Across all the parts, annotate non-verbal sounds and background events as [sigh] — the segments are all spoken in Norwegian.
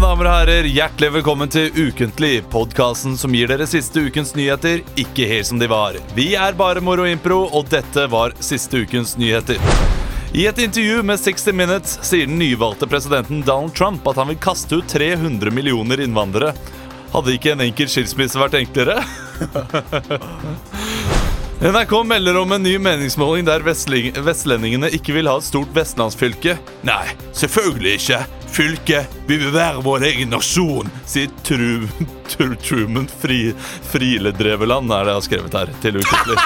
damer og herrer, hjertelig velkommen til Ukentlig, podkasten som gir dere siste ukens nyheter ikke helt som de var. Vi er bare Moro Impro, og dette var siste ukens nyheter. I et intervju med 60 Minutes sier den nyvalgte presidenten Donald Trump at han vil kaste ut 300 millioner innvandrere. Hadde ikke en enkel skilsmisse vært enklere? NRK melder om en ny meningsmåling der vestling- vestlendingene ikke vil ha et stort vestlandsfylke. Nei, selvfølgelig ikke. Fylket, vi vil være vår egen nasjon, sier Tru, Tru, Truman Fri, Friledreveland, er det jeg har skrevet her, til ukentlig.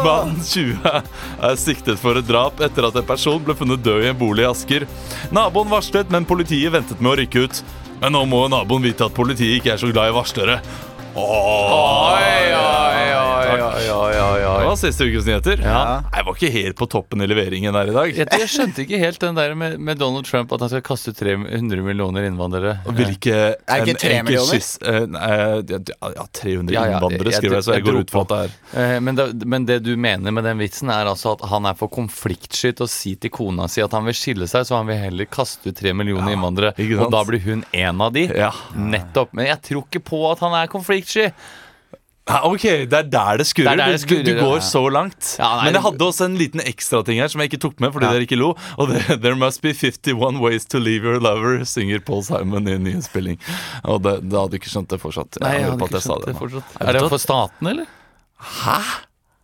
Mann 20 er siktet for et drap etter at en person ble funnet død i en bolig i Asker. Naboen varslet, men politiet ventet med å rykke ut. Men nå må naboen vite at politiet ikke er så glad i varslere. Åh, det var siste ukes nyheter. Jeg var ikke helt på toppen i leveringen her i dag. Jeg, jeg skjønte ikke helt den der med, med Donald Trump at han skal kaste ut 300 millioner innvandrere. Vil ikke Er det ikke tre millioner? eh, ja, 300 Ja, ja, innvandrere, jeg- skriver jeg, så jeg jeg går dro ut fra at det er Eh, Men det, men det du mener med den vitsen, er altså at han er for konfliktskyt og sier til kona si at han vil skille seg, så han vil heller kaste ut tre millioner innvandrere. ikke sant? Og da blir hun en av de. Ja. Nettopp. Men jeg tror ikke på at han er konfliktsky. Ja, Ok, det er der det skurrer. Det er der det Du, skurrer, du går ja. så langt. Ja, nei, Men jeg det- hadde også en liten ekstrating her som jeg ikke tok med fordi dere ikke lo. Og det, There must be 51 ways to leave your lover, synger Paul Simon i en nyinnspilling. Og det, da hadde du ikke skjønt det fortsatt. Jeg angrer på at jeg sa det nå. fortsatt. Er det for staten, eller? Hæ?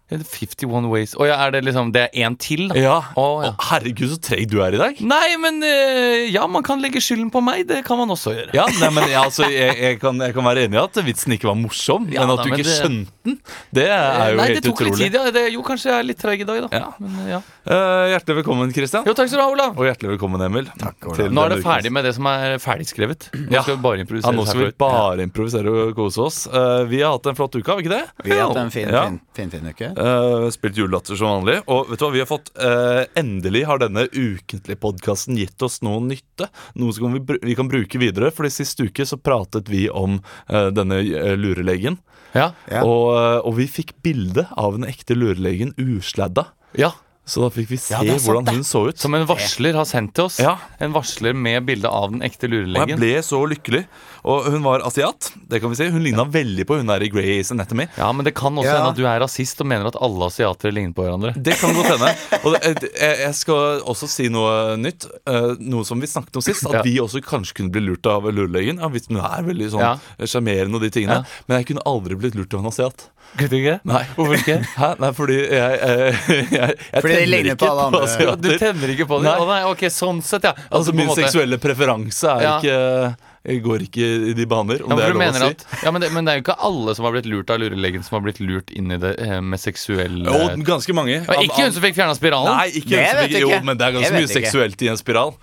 51 Ways Å ja, er det liksom Det er én til, da? Ja. Å, ja. Å, herregud, så treg du er i dag. Nei, men eh, Ja, man kan legge skylden på meg. Det kan man også gjøre. Ja, nei, men jeg, altså, jeg, jeg, kan, jeg kan være enig i at vitsen ikke var morsom, Ja, men at da, du men ikke det- skjønte den, Eh, det er jo Eh, Nei, det helt tok utrolig. litt tid, ja. Det, jo, kanskje jeg er litt treig i dag, da. Ja. Men, eh, ja. Eh, hjertelig velkommen, Christian. Jo, takk skal du ha, Olav. Og hjertelig velkommen, Emil. Takk, Nå er det ferdig med det som er ferdigskrevet. Nå Ja. skal vi bare improvisere. Ja, nå skal vi herfra. bare improvisere og kose oss. Eh, vi har hatt en flott uke, har vi ikke det? Vi har hatt en fin, Ja. fin, fin, fin uke. Eh, spilt julelatter som vanlig. Og vet du hva, vi har fått eh, Endelig har denne ukentlige podkasten gitt oss noe nytte. Noe som vi, br- vi kan bruke videre. Fordi sist uke så pratet vi om eh, denne eh, lurelegen. Ja. Ja. Og, eh, og vi fikk bilde av den ekte lurelegen usladda. ja. Så da fikk vi se det er sant, hvordan hun så ut. Som en varsler har sendt til oss. Ja. En varsler med bilde av den ekte Og jeg lurelegen. ble så lykkelig. Og hun var asiat. det kan vi si Hun ligna veldig på hun der i Grey's Anatomy. Ja, men det kan også Ja. hende at du er rasist og mener at alle asiatere ligner på hverandre. Det kan godt hende. Og det, eh, jeg jeg skal også si noe nytt. eh, Noe som vi snakket om sist. At Ja. vi også kanskje kunne bli lurt av lurelegen. Ja, hvis hun er veldig sånn Ja. sjarmerende og de tingene. Ja. Men jeg kunne aldri blitt lurt av en asiat. Kunne ikke? Nei, hvorfor ikke? [laughs] Hæ? Nei, fordi jeg, eh, [laughs] jeg, jeg, Fordi de ligner på alle andre. Ja, du asiater. tenner ikke på det? Nei. Å nei, ok, sånn sett, ja. Altså på en Min måte- seksuelle preferanse er Ja. ikke eh, Går ikke i de baner, om ja, det for er du lov mener å si. at, ja, men, det, men det er jo ikke alle som har blitt lurt av lurelegen, som har blitt lurt inn i det eh, med seksuell Jo, ganske mange. Og ikke hun som fikk fjerna spiralen. Nei, ikke Det hun som vet fikk jeg Jo, ikke. men det er Jeg ganske vet mye ikke. seksuelt i en spiral.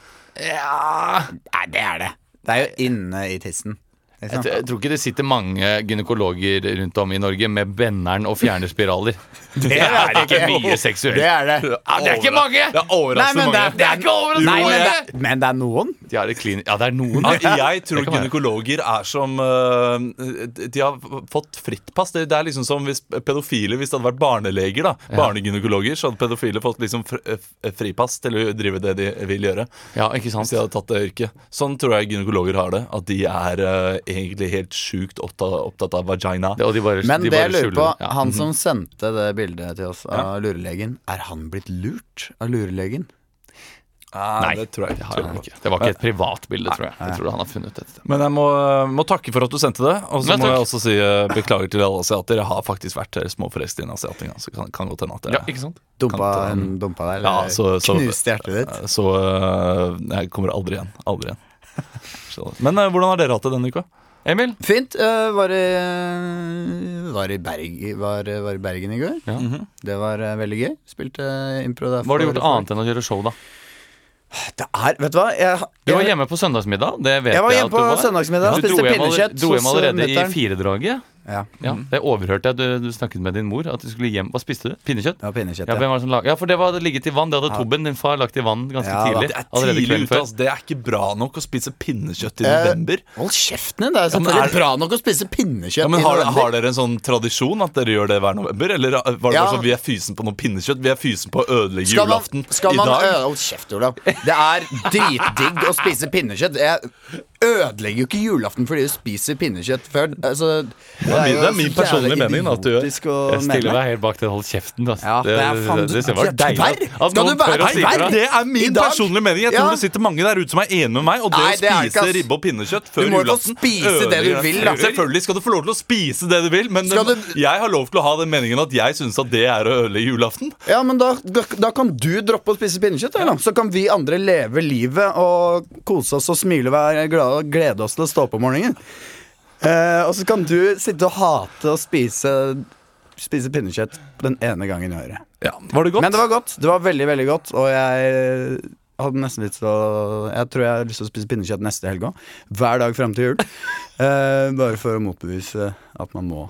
Nei, det er det. Det er jo inne i tissen. liksom. Det er Jeg, sant. jeg tror ikke det sitter mange gynekologer rundt om i Norge med benneren og fjerner spiraler. Det er ikke [laughs] mye seksuelt. Det er det. Ja, det er ikke mange! Det er Nei, overraskende men det er, mange. Det er ikke overraskende Nei, men, mange. det, men det er noen. De har et klin... Ja, det er noen. Ja, Jeg tror Det kan være. gynekologer er som øh, De har fått fritt pass. Det, det er liksom som hvis pedofile Hvis det hadde vært barneleger, da barnegynekologer, så hadde pedofile fått liksom fr- eh, fripass til å drive det de vil gjøre. Ja, ikke sant? Hvis de hadde tatt det yrket. Sånn tror jeg gynekologer har det. At de er øh, egentlig helt sjukt opptatt, opptatt av vagina. Det- Og de bare, Men de det bare jeg lurer på, skjuler det. Ja. Mhm. han som sendte det bildet til oss av lurelegen, er han blitt lurt av lurelegen? Nei, det tror jeg Det ikke. har han ikke. Det var ikke et privat bilde, tror jeg. Jeg tror han har funnet et sted. Men jeg må, må takke for at du sendte det. Og så Nei, må takk. jeg også si eh, beklager til alle asiater. Jeg har faktisk vært eh, småforelsket i en asiat en gang. Så kan, kan godt hende at jeg Ja, ikke sant? Dumpa, Kan hun dumpa deg, eller Ja, så- så- knuste hjertet ditt? Så øh, jeg kommer aldri igjen. Aldri igjen. Så- Men øh, hvordan har dere hatt det denne uka? Emil? Fint. eh, var, i, var, i Berg, var, eh, var i Bergen i går. Ja. Det var eh, veldig gøy. Spilte eh, impro der. Hva har du for- gjort annet enn å gjøre show, da? Det er, vet du hva? Jeg, Du var jeg, hjemme på søndagsmiddag. Det vet jeg var jeg hjemme at du på var. søndagsmiddag. Du Spiste dro hjem, alle- pinnekjøtt dro hjem hos allerede i mutter'n. firedraget. Ja. Ja, Det overhørte jeg. Du, du snakket med din mor. At du skulle hjem Hva spiste du? Pinnekjøtt? Det var pinnekjøtt. Ja, Ja, hvem var det som lag... ja, for det var det ligget i vann. Det hadde Tobben, din far, lagt i vann ganske Ja, da. tidlig. Det er allerede tidlig kvelden ute, altså, før. ass. Det er ikke bra nok å spise pinnekjøtt i Eh, november. Hold kjeften din! Det er jo men selvfølgelig er- bra nok å spise pinnekjøtt Ja, men i har, november. har dere en sånn tradisjon at dere gjør det hver november? Eller var det bare Ja. sånn vi er fysen på noe pinnekjøtt? Vi er fysen på å ødelegge Skal man, julaften skal i man dag? ø- Hold kjeft, Olav. Det er dritdigg å spise pinnekjøtt. Jeg ødelegger jo ikke julaften fordi du spiser pinnekjøtt før. Altså, det jo min- det er så min jævla personlige mening, da, at du gjør. idiotisk å Jeg stiller mene. meg helt bak den. Hold kjeften, ass. Ja, det er faen- det, det, det var du er deilig at- tverr. Skal at noen du være tør å si tverr? ifra. Det er I min dag? personlige mening. Jeg tror Ja. det sitter mange der ute som er enig med meg. Og det Nei, å det er ikke, spise ass. ribbe og pinnekjøtt før Du må jo få julaften spise det du ødelegger vil, det. da. Selvfølgelig skal du få lov til å spise det du vil, men Skal den, du- jeg har lov til å ha den meningen at jeg syns at det er å ødelegge julaften. Ja, men da, da, da kan du droppe å spise pinnekjøtt, eller? så kan vi andre leve livet og kose oss og smile og være glade og glede oss til å stå opp om morgenen. Eh, og så kan du sitte og hate å spise, spise pinnekjøtt den ene gangen i året. Var det godt? Men det var godt. Det var veldig, veldig godt. Og jeg hadde nesten lyst til å Jeg tror jeg har lyst til å spise pinnekjøtt neste helg òg. Hver dag fram til jul. Eh, bare for å motbevise at man må.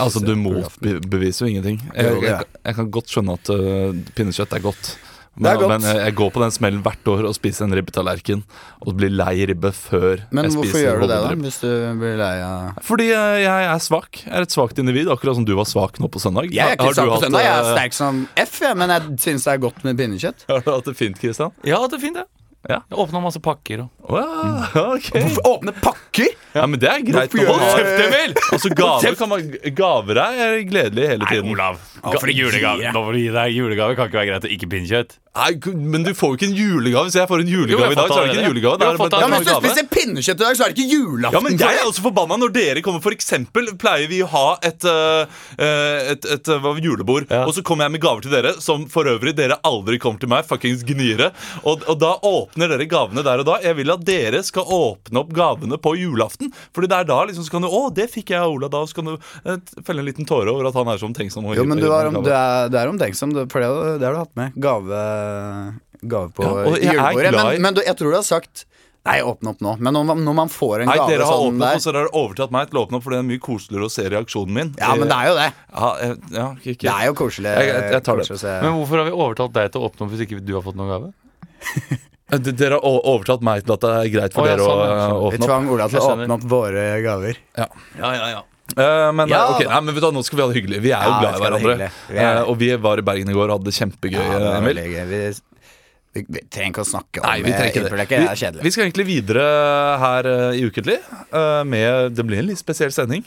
Altså, du motbeviser jo ingenting. Jeg, Jo, det er. jeg, jeg kan godt skjønne at øh, pinnekjøtt er godt. Men, Det er godt. men jeg, jeg går på den smellen hvert år og spiser en ribbetallerken og blir lei ribbe før Men jeg hvorfor spiser gjør du det, da? hovedribbe. Hvis du blir lei av Fordi øh, jeg er svak. Jeg er et svakt individ, akkurat som du var svak nå på søndag. Jeg er Har ikke du sterk på hatt, søndag. Jeg er øh, sterk som F, jeg, men jeg syns det er godt med pinnekjøtt. Har du hatt det fint, Kristian? Ja, det er fint, det. Ja. Jeg åpna masse pakker og Wow, ok Åpne pakker! Ja, men det er greit. Hvorfor gjør Hold du kjeft, det? Emil! Altså, gaver, kan man, gaver er gledelig hele tiden. Ga- julegave. Nå får du gi deg julegave. Kan ikke være greit å ikke pinnekjøtt. Nei, g- men du får jo ikke en julegave. Hvis jeg får en Jo, julegave jeg i dag, så fattet er det ikke det. en julegave. Jo, jeg det er- fattet det Ja, er det. bare men Hvis du gave. spiser pinnekjøtt i dag, så er det ikke julaften. Ja, men for jeg er deg. også forbanna når dere kommer. For eksempel pleier vi å ha et, øh, øh, et, et, øh, hva, julebord, Ja. og så kommer jeg med gaver til dere, som for øvrig dere aldri kommer til meg. Fuckings gniere. Og, og da åpner dere gavene der og da. Jeg vil at dere skal åpne opp gavene på julaften. Fordi det er da liksom så kan du Å, det fikk jeg av Ola da. Og så kan du eh, felle en liten tåre over at han er så omtenksom. og Jo, men du gir meg er, om, gaver. du er, det er omtenksom, du- for det, det har du hatt med. Gave, gave på Ja, og jeg er julebordet. glad i- Men, men du, jeg tror du har sagt Nei, åpne opp nå. Men når man, når man får en Nei, gave dere har sånn åpnet, der og så har dere overtatt meg til å åpne opp, for det er mye koseligere å se reaksjonen min. Ja, men det er jo det. Ja, eh, ja, ikke- Det er jo koselig. Jeg- jeg- jeg tar det. koselig å se. Men hvorfor har vi overtalt deg til å åpne opp hvis ikke du har fått noen gave? Eh, d- Dere har o- overtatt meg til at det er greit for Å, ja, dere sånn, ja, å eh, Vi åpne opp. tvang Ola til å Jeg skjønner. åpne opp våre gaver. Ja, ja, ja. Eh, men eh, Ja, ok, da. nei, men vet du, hva, nå skal vi ha det hyggelig. Vi er jo Ja, glad i vi skal ha det hverandre. hyggelig. Vi er det. Eh, og vi var i Bergen i går og hadde det kjempegøy. Ja, det eh, var Emil. veldig gøy. Vi, vi, vi trenger ikke å snakke om Nei, vi eh, trenger ikke det. impulleker. Det er Vi, kjedelig. vi skal egentlig videre her eh, i Ukentlig. eh, med, det blir en litt spesiell sending.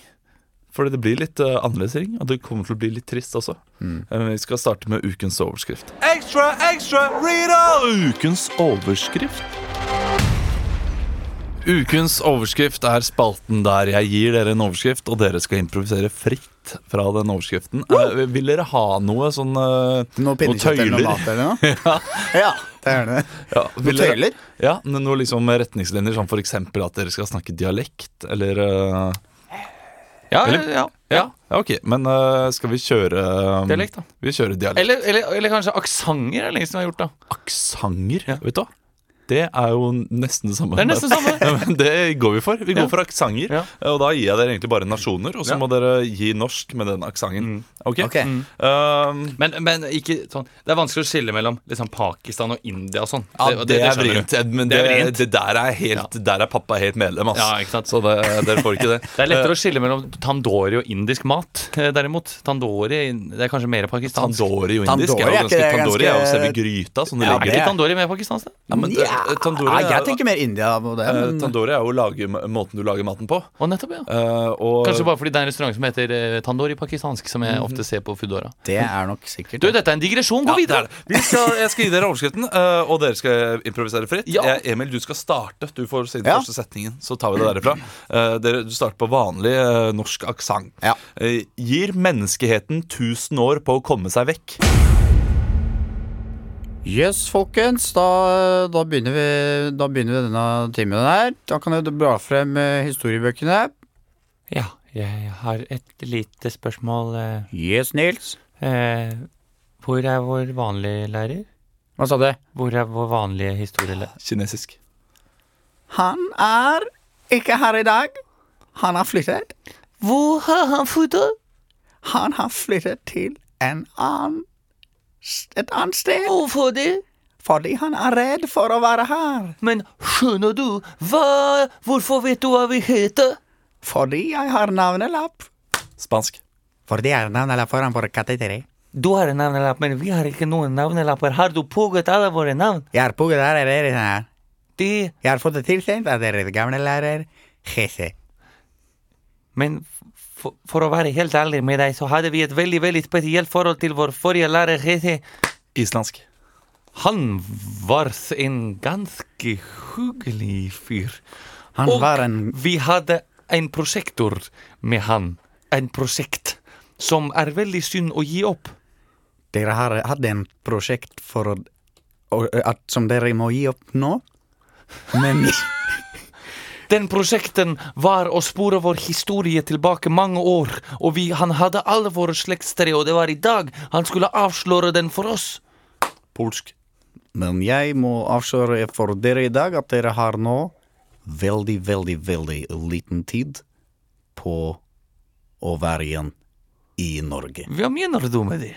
For det blir litt eh, annerledes, ring, og det kommer til å bli litt trist også. Mm. Eh, men vi skal starte med ukens overskrift. Ekstra, ekstra, Rita! Ukens overskrift. Ukens overskrift er spalten der jeg gir dere en overskrift, og dere skal improvisere fritt fra den overskriften. Eh, vil dere ha noe sånn eh, Noe pinnekjøtt eller noe mat eller noe? [laughs] ja, det er det. ja, Noen vil dere- tøyler? Ja, men noe liksom retningslinjer som for eksempel at dere skal snakke dialekt, eller eh, Ja, Eller- ja, ja. ja, ok, men eh, skal vi kjøre eh, Dialekt, da. Vi kjører dialekt. Eller, eller, eller kanskje aksenter er det lenge siden vi har gjort, da. Aksanger, vet du hva? Det er jo nesten det samme. Det er nesten det samme. [laughs] Ja, men det går vi for. Vi går Ja. for aksanger. Ja. Og da gir jeg dere egentlig bare nasjoner, og Ja. så Mm. må dere gi norsk med den aksangen. Ok? Ok. Um, Men, men ikke sånn Det er vanskelig å skille mellom liksom, Pakistan og India og sånn. ja, det, er skjønner du. vrient. Men det, Det er det, vrient. der er helt Der er pappa helt medlem, ass. Ja, ikke sant? Så det, dere får ikke det. [laughs] Det er lettere å skille mellom tandori og indisk mat, eh, derimot. Tandori det er kanskje mer pakistansk. Tandori og indisk Tandoori er er jo ikke ganske det Tandori er jo ganske- selve gryta som du Ja, Er legger ikke til. det- tandori mer pakistansk? da? Ja, men det- tandoori ja, er- jeg tenker mer India på det. eh, Men Tandoori er jo å lage m- måten du lager maten på. Å, nettopp, ja. Eh, og Kanskje bare fordi det er en restaurant som heter eh, Tandori pakistansk, som jeg ofte ser på Foodora. det er nok sikkert Du, dette er en digresjon. Gå ja, det er videre! det. Vi skal, jeg skal gi dere overskriften, eh, og dere skal improvisere fritt. Ja. Jeg, Emil, du skal starte. Du får si den Ja. første setningen, så tar vi det derifra. Eh, dere, du starter på vanlig eh, norsk aksent. Ja. Eh, gir menneskeheten 1000 år på å komme seg vekk? Yes, folkens, da, da, begynner vi, da begynner vi denne timen her. Da kan jeg bla frem eh, historiebøkene. Ja, jeg har et lite spørsmål. eh. Yes, Nils. Eh, Hvor er vår vanlige lærer? Hva sa du? Hvor er vår vanlige historielærer? Kinesisk. Han er ikke her i dag. Han har flyttet. Hvor har han flyttet? Han har flyttet til en annen, s- et annet sted Hvorfor det? fordi han er redd for å være her. Men skjønner du hva Hvorfor vet du hva vi heter? Fordi jeg har navnelapp. Spansk. Fordi jeg har navnelapp foran for kateteret. Du har en navnelapp, men vi har ikke noen navnelapper. Har du pugget alle våre navn? Jeg har pugget her, eller her. Det Jeg har fått det tilsendt av deres gamle lærer, Hese. Men for, for å være helt ærlig med deg, så hadde vi et veldig veldig spesielt forhold til vår forrige lærer, Hese. Islandsk. Han var en ganske hyggelig fyr. Han Og var en vi hadde en prosjektor med han. En prosjekt som er veldig synd å gi opp. Dere har hatt en prosjekt for å og, at, som dere må gi opp nå? Men Den prosjekten var å spore vår historie tilbake mange år, og vi, han hadde alle våre slektstre, og det var i dag han skulle avsløre den for oss. Polsk. Men jeg må avsløre for dere i dag at dere har nå veldig, veldig, veldig liten tid på å være igjen i Norge. Hva mener du med det?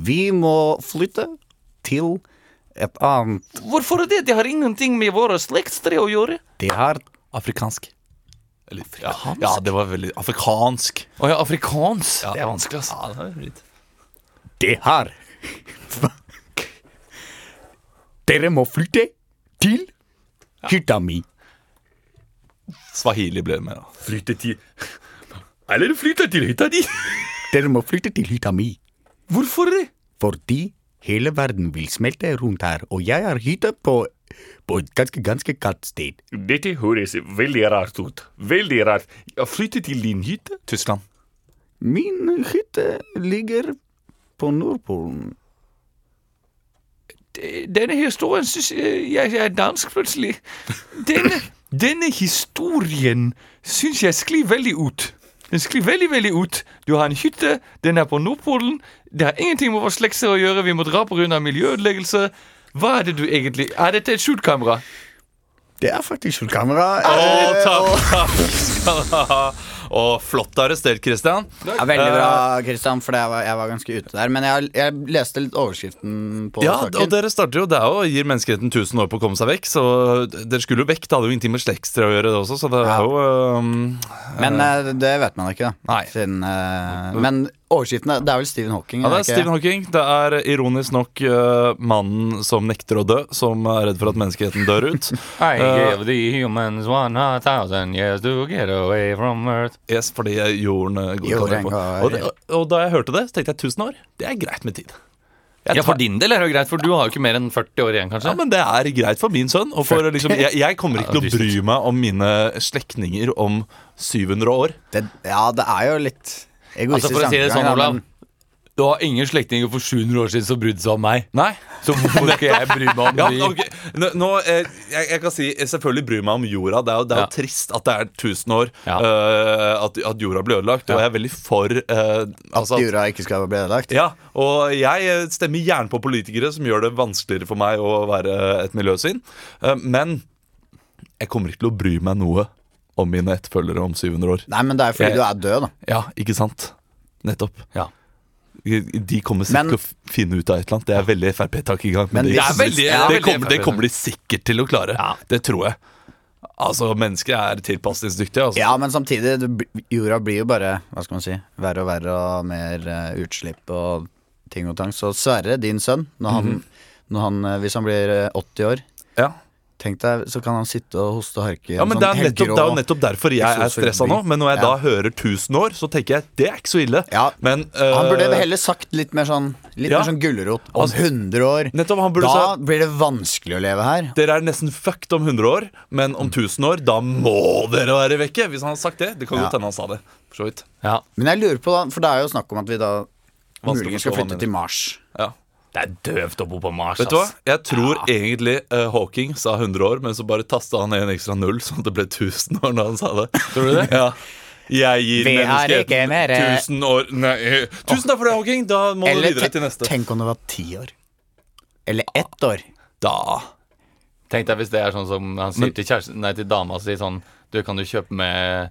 Vi må flytte til et annet Hvorfor det? Det har ingenting med våre slektstre å gjøre. Det har Afrikansk. Eller afrikansk? Ja, det var veldig Afrikansk. Å ja, afrikansk. Ja. Det er vanskelig, ass. Ja, det er litt. Det har Dere må flytte til hytta mi. Swahili ble med. da. Flytte til Eller flytte til hytta di. Dere må flytte til hytta mi. Hvorfor det? Fordi hele verden vil smelte rundt her, og jeg har hytte på, på et ganske, ganske kaldt sted. Dette høres veldig rart ut. Veldig rart. Flytte til din hytte? Tyskland. Min hytte ligger på Nordpolen. Denne historien syns jeg, jeg er dansk, plutselig. Denne, denne historien syns jeg sklir veldig ut. Den sklir veldig, veldig ut. Du har en hytte, den er på Nordpolen. Det har ingenting med vår slekter å gjøre, vi må dra pga. miljøødeleggelse. Hva er det du egentlig Er dette et skjult kamera? Det er faktisk skjult kamera. Å, eh, og- takk, takk skal du ha. Og flott arrestert, Christian. Ja, veldig bra, Kristian, for det var, jeg var ganske ute der. Men jeg, jeg leste litt overskriften på Ja, saken. og dere starter jo der og gir menneskeheten 1000 år på å komme seg vekk. Så dere skulle jo vekk. Det hadde jo ingenting med slektstre å gjøre, det også. Så det er jo um, øhm, Men eh, det vet man ikke, da. Nei. Siden, eh, men overskriftene Det er vel Stephen Hawking? Ja, det er ikke Stephen Hawking. Det er ironisk nok øh, mannen som nekter å dø, som er redd for at menneskeheten dør ut. I give the humans one thousand years to get away from earth. Yes, fordi jorden øh, går Jorden kaller på. går- Og, det, og da jeg hørte det, så tenkte jeg 1000 år. Det er greit med tid. Jeg Ja, tar- for din del er det jo greit, for du har jo ikke mer enn 40 år igjen, kanskje. Ja, men det er greit for min sønn. Og for, liksom, jeg, jeg kommer ikke til å bry meg om mine slektninger om 700 år. Det, ja, det er jo litt egoistisk Altså For å si det sånn, tankegang, da, Olav. men- Du har ingen slektninger for 700 år siden som brydde seg om meg. Nei. Så hvorfor skal jeg bry [laughs] meg om Ja, de Ah, ok. Nå, nå, eh, jeg, jeg kan si jeg selvfølgelig bryr meg om jorda. Det er jo, det er jo Ja. trist at det er 1000 år Ja. eh, at, at jorda blir ødelagt. Og jeg er veldig for eh, altså at- Jorda ikke skal bli ødelagt? ja, og jeg eh, stemmer gjerne på politikere som gjør det vanskeligere for meg å være et miljøsyn. Eh, Men jeg kommer ikke til å bry meg noe om mine etterfølgere om 700 år. Nei, men det er fordi Jeg- du er død, da. Ja, ikke sant? Nettopp. Ja. De kommer sikkert Men- til å f- finne ut av et eller annet. Det er veldig Frp-tankegang. Men de- det er det, veldig- det er veldig kommer, det FrP. kommer de sikkert til å klare. Det tror jeg. Altså, mennesker er tilpasningsdyktige. Altså. Ja, men samtidig, det, bl- jorda blir jo bare hva skal man si, verre og verre og mer eh, utslipp og ting og tang. Så Sverre, din sønn, når han, Mhm. når han, eh, hvis han blir eh, 80 år Ja. Tenk deg, så kan han sitte og hoste og harke. i Ja, en men sånn det, er nettopp, helgrå- det er jo nettopp derfor jeg er eksotisk stressa by. nå. Men når jeg da Ja. hører 1000 år, så tenker jeg det er ikke så ille. Ja, Men Han burde eh, heller sagt litt mer sånn Litt Ja. mer sånn gulrot. Om Altså, 100 år nettopp, han burde Da sagt- blir det vanskelig å leve her. dere er nesten fucked om 100 år, men om 1000 år, da må dere være vekke! Hvis han har sagt det. Det kan Ja. godt hende han sa det. For så vidt. ja. Men jeg lurer på, da, for det er jo snakk om at vi da Vanskelig å muligens skal forstå hva han flytte mener. til Mars. Ja. Det er døvt å bo på Mars, Vet du hva? Jeg tror egentlig eh, Hawking sa 100 år, men så bare tasta han ned en ekstra null, sånn at det ble 1000 år når han sa det. Tror du det? [laughs] Ja. Jeg gir Vi har ikke menneskeheten mer, eh, 1000 år Nei. eh, Tusen takk for det, Hawking. Da må du Eller videre te- til neste. tenk om det var ti år. Eller ett år. Da. Tenk deg hvis det er sånn som han sier til kjæresten Nei, til dama si sånn Du, kan du kjøpe med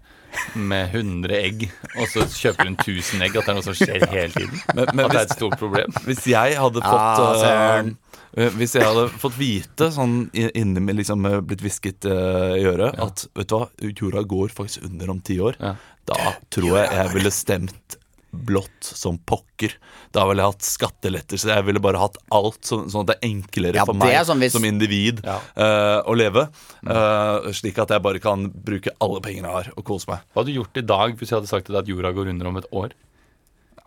med 100 egg, og så kjøper hun 1000 egg. At det er noe som skjer hele tiden. Men, men At det er hvis, et stort problem. hvis jeg hadde fått Ah, eh, søren. eh, Hvis jeg hadde fått vite, sånn i- inni meg liksom eh, blitt hvisket eh, i øret, at vet du hva, jorda går faktisk under om ti år, Ja. da tror jeg jeg ville stemt blått som pokker. Da ville jeg hatt skattelettelser. Jeg ville bare hatt alt, sånn, sånn at det er enklere Ja, for det meg er sånn hvis- Mm. som individ Ja. eh, å leve. eh, slik at jeg bare kan bruke alle pengene jeg har, og kose meg. Hva hadde du gjort i dag hvis jeg hadde sagt til deg at jorda går under om et år?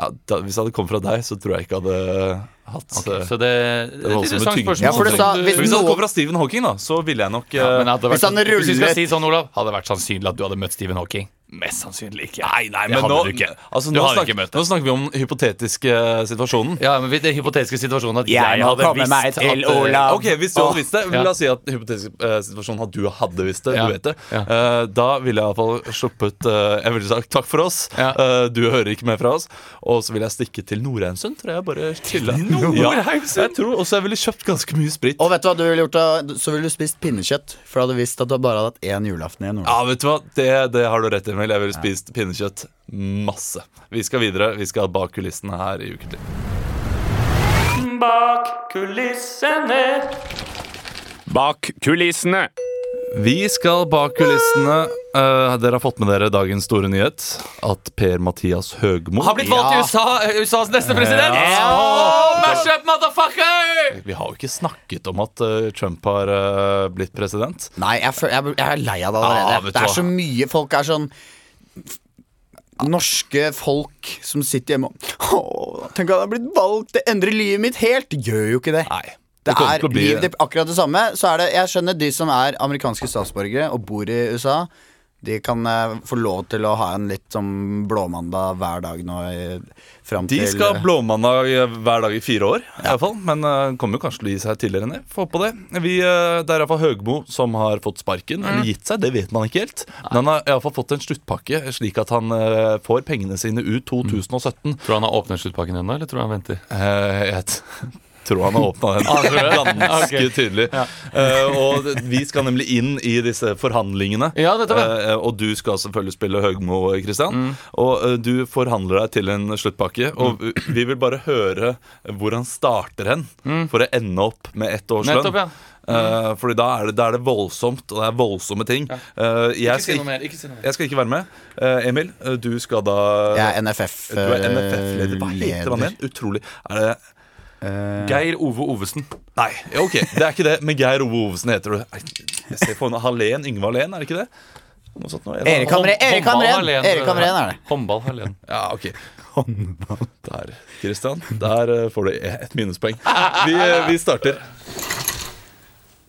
Ja, da, hvis det hadde kommet fra deg, så tror jeg ikke jeg hadde hatt eh, Så det, det er et voldsomme interessant tyngden. spørsmål. Ja, for det sa- som hvis Men Hvis det noe- hadde kommet fra Stephen Hawking, da, så ville jeg nok Ja, eh, men hadde det vært, Hvis han hvis vi skal rullet- si sånn, Olav, hadde det vært sannsynlig at du hadde møtt Stephen Hawking? Mest sannsynlig ikke. Nei, nei, Det men hadde nå, du ikke. altså, Du nå, hadde snakker, ikke møtt det. nå snakker vi om hypotetiske eh, situasjonen. Ja, men Den hypotetiske situasjonen at jeg, Jeg må hadde komme visst meg til at, eh, Olav. Ok, Hvis du hadde visst det, ja. la oss si at hypotetisk eh, situasjon at du hadde visst det. Ja, du vet det ja. Eh, Da ville jeg iallfall sluppet eh, Jeg ville sagt takk for oss, Ja. eh, du hører ikke mer fra oss. Og så ville jeg stikke til Nordheimsund, tror jeg. Bare chille. Ja, jeg tror også jeg ville kjøpt ganske mye sprit. Og vet du hva du ville gjort da? Så ville du spist pinnekjøtt. For da hadde du visst at du bare hadde hatt én julaften igjen. Ja, vet du hva, det, det har du rett i, Emil. Jeg ville spist pinnekjøtt masse. Vi skal videre. Vi skal bak kulissene her i Ukentlig. Bak kulissene. Vi skal bak kulissene. Eh, dere har fått med dere dagens store nyhet. At Per-Mathias Høgmo Har blitt valgt Ja. til USA, eh, USAs neste president! Ja. Oh, mash up, motherfucker! Vi har jo ikke snakket om at eh, Trump har eh, blitt president. Nei, jeg, føl- jeg, jeg er lei av det Ja, allerede. vet du det er hva. så mye folk er sånn Norske folk som sitter hjemme og Åh, Tenk at jeg har blitt valgt! Det endrer livet mitt helt! Det gjør jo ikke det. Nei. Det kommer er til å bli- liv, det, er akkurat det samme. Så er det, jeg skjønner de som er amerikanske statsborgere og bor i USA. De kan eh, få lov til å ha en litt sånn blåmandag hver dag nå i, fram De til eh, skal ha blåmandag hver dag i fire år, i hvert fall. men uh, kommer jo kanskje til å gi seg tidligere enn det. Få håpe det. Vi, eh, det er iallfall Høgmo som har fått sparken, Mm. eller gitt seg, det vet man ikke helt. Men han har iallfall fått en sluttpakke, slik at han eh, får pengene sine ut Mm. Tror 2017. du han har åpnet sluttpakken ennå, eller tror du han venter? Eh, jeg t- [laughs] tror han har åpna Ah, den ganske [laughs] tydelig. Eh, og det- vi skal nemlig inn i disse forhandlingene. Ja, dette var- Mm. Eh, og du skal selvfølgelig spille Høgmo, Kristian. Og eh, du forhandler deg til en sluttpakke. Og vi vil bare høre hvor han starter hen, for å ende opp med ett års lønn. Mm. Nettopp, ja. Mm. Eh, fordi da er, det, da er det voldsomt, og det er voldsomme ting. Eh, jeg, skal, ikke- mer. ikke si noe jeg skal ikke være med. Eh, Emil, eh, du skal da Jeg er NFF. du er NFF-leder. Hva heter han igjen? Utrolig. Er det Eh. Geir Ove Ovesen. Nei, ja, ok, det er ikke det. Men Geir Ove Ovesen heter du. Nei, Jeg ser på henne. Hallén, Yngve Hallén, er det ikke det? Noe sånt noe. Erik Hamre- Erik Håndball Hamren! alene. Erik Hamren er det. Håndball alene. Ja, ok Der, Kristian. Der eh, får du et minuspoeng. Vi, eh, vi starter.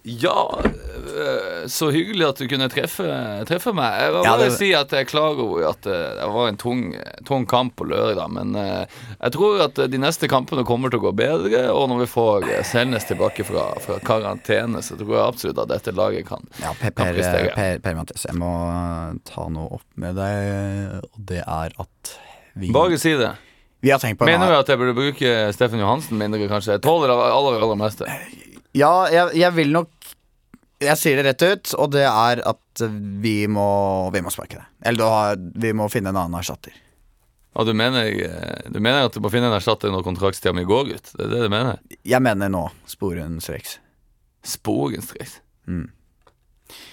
Ja, øh, så hyggelig at du kunne treffe, treffe meg. Jeg vil Ja, bare det- si at jeg klager over at øh, det var en tung, tung kamp på lørdag, men øh, jeg tror at øh, de neste kampene kommer til å gå bedre. Og når vi får øh, Selnes tilbake fra, fra karantene, så tror jeg absolutt at dette laget kan Ja, Per, kan per, prestere. per, per Mathias, jeg må eh, ta noe opp med deg, og det er at vi, Bare si det. vi har tenkt på en Mener du annen- at jeg burde bruke Steffen Johansen mindre, kanskje? Jeg tåler det aller, aller meste. Ja, jeg, jeg vil nok Jeg sier det rett ut, og det er at vi må, vi må sparke det. Eller da, har- vi må finne en annen erstatter. Og du mener, eh, du mener at du må finne en erstatter når kontraktstida mi går ut? Det er det du mener? Jeg mener nå, sporenstreks. Sporenstreks. Mm. Eh.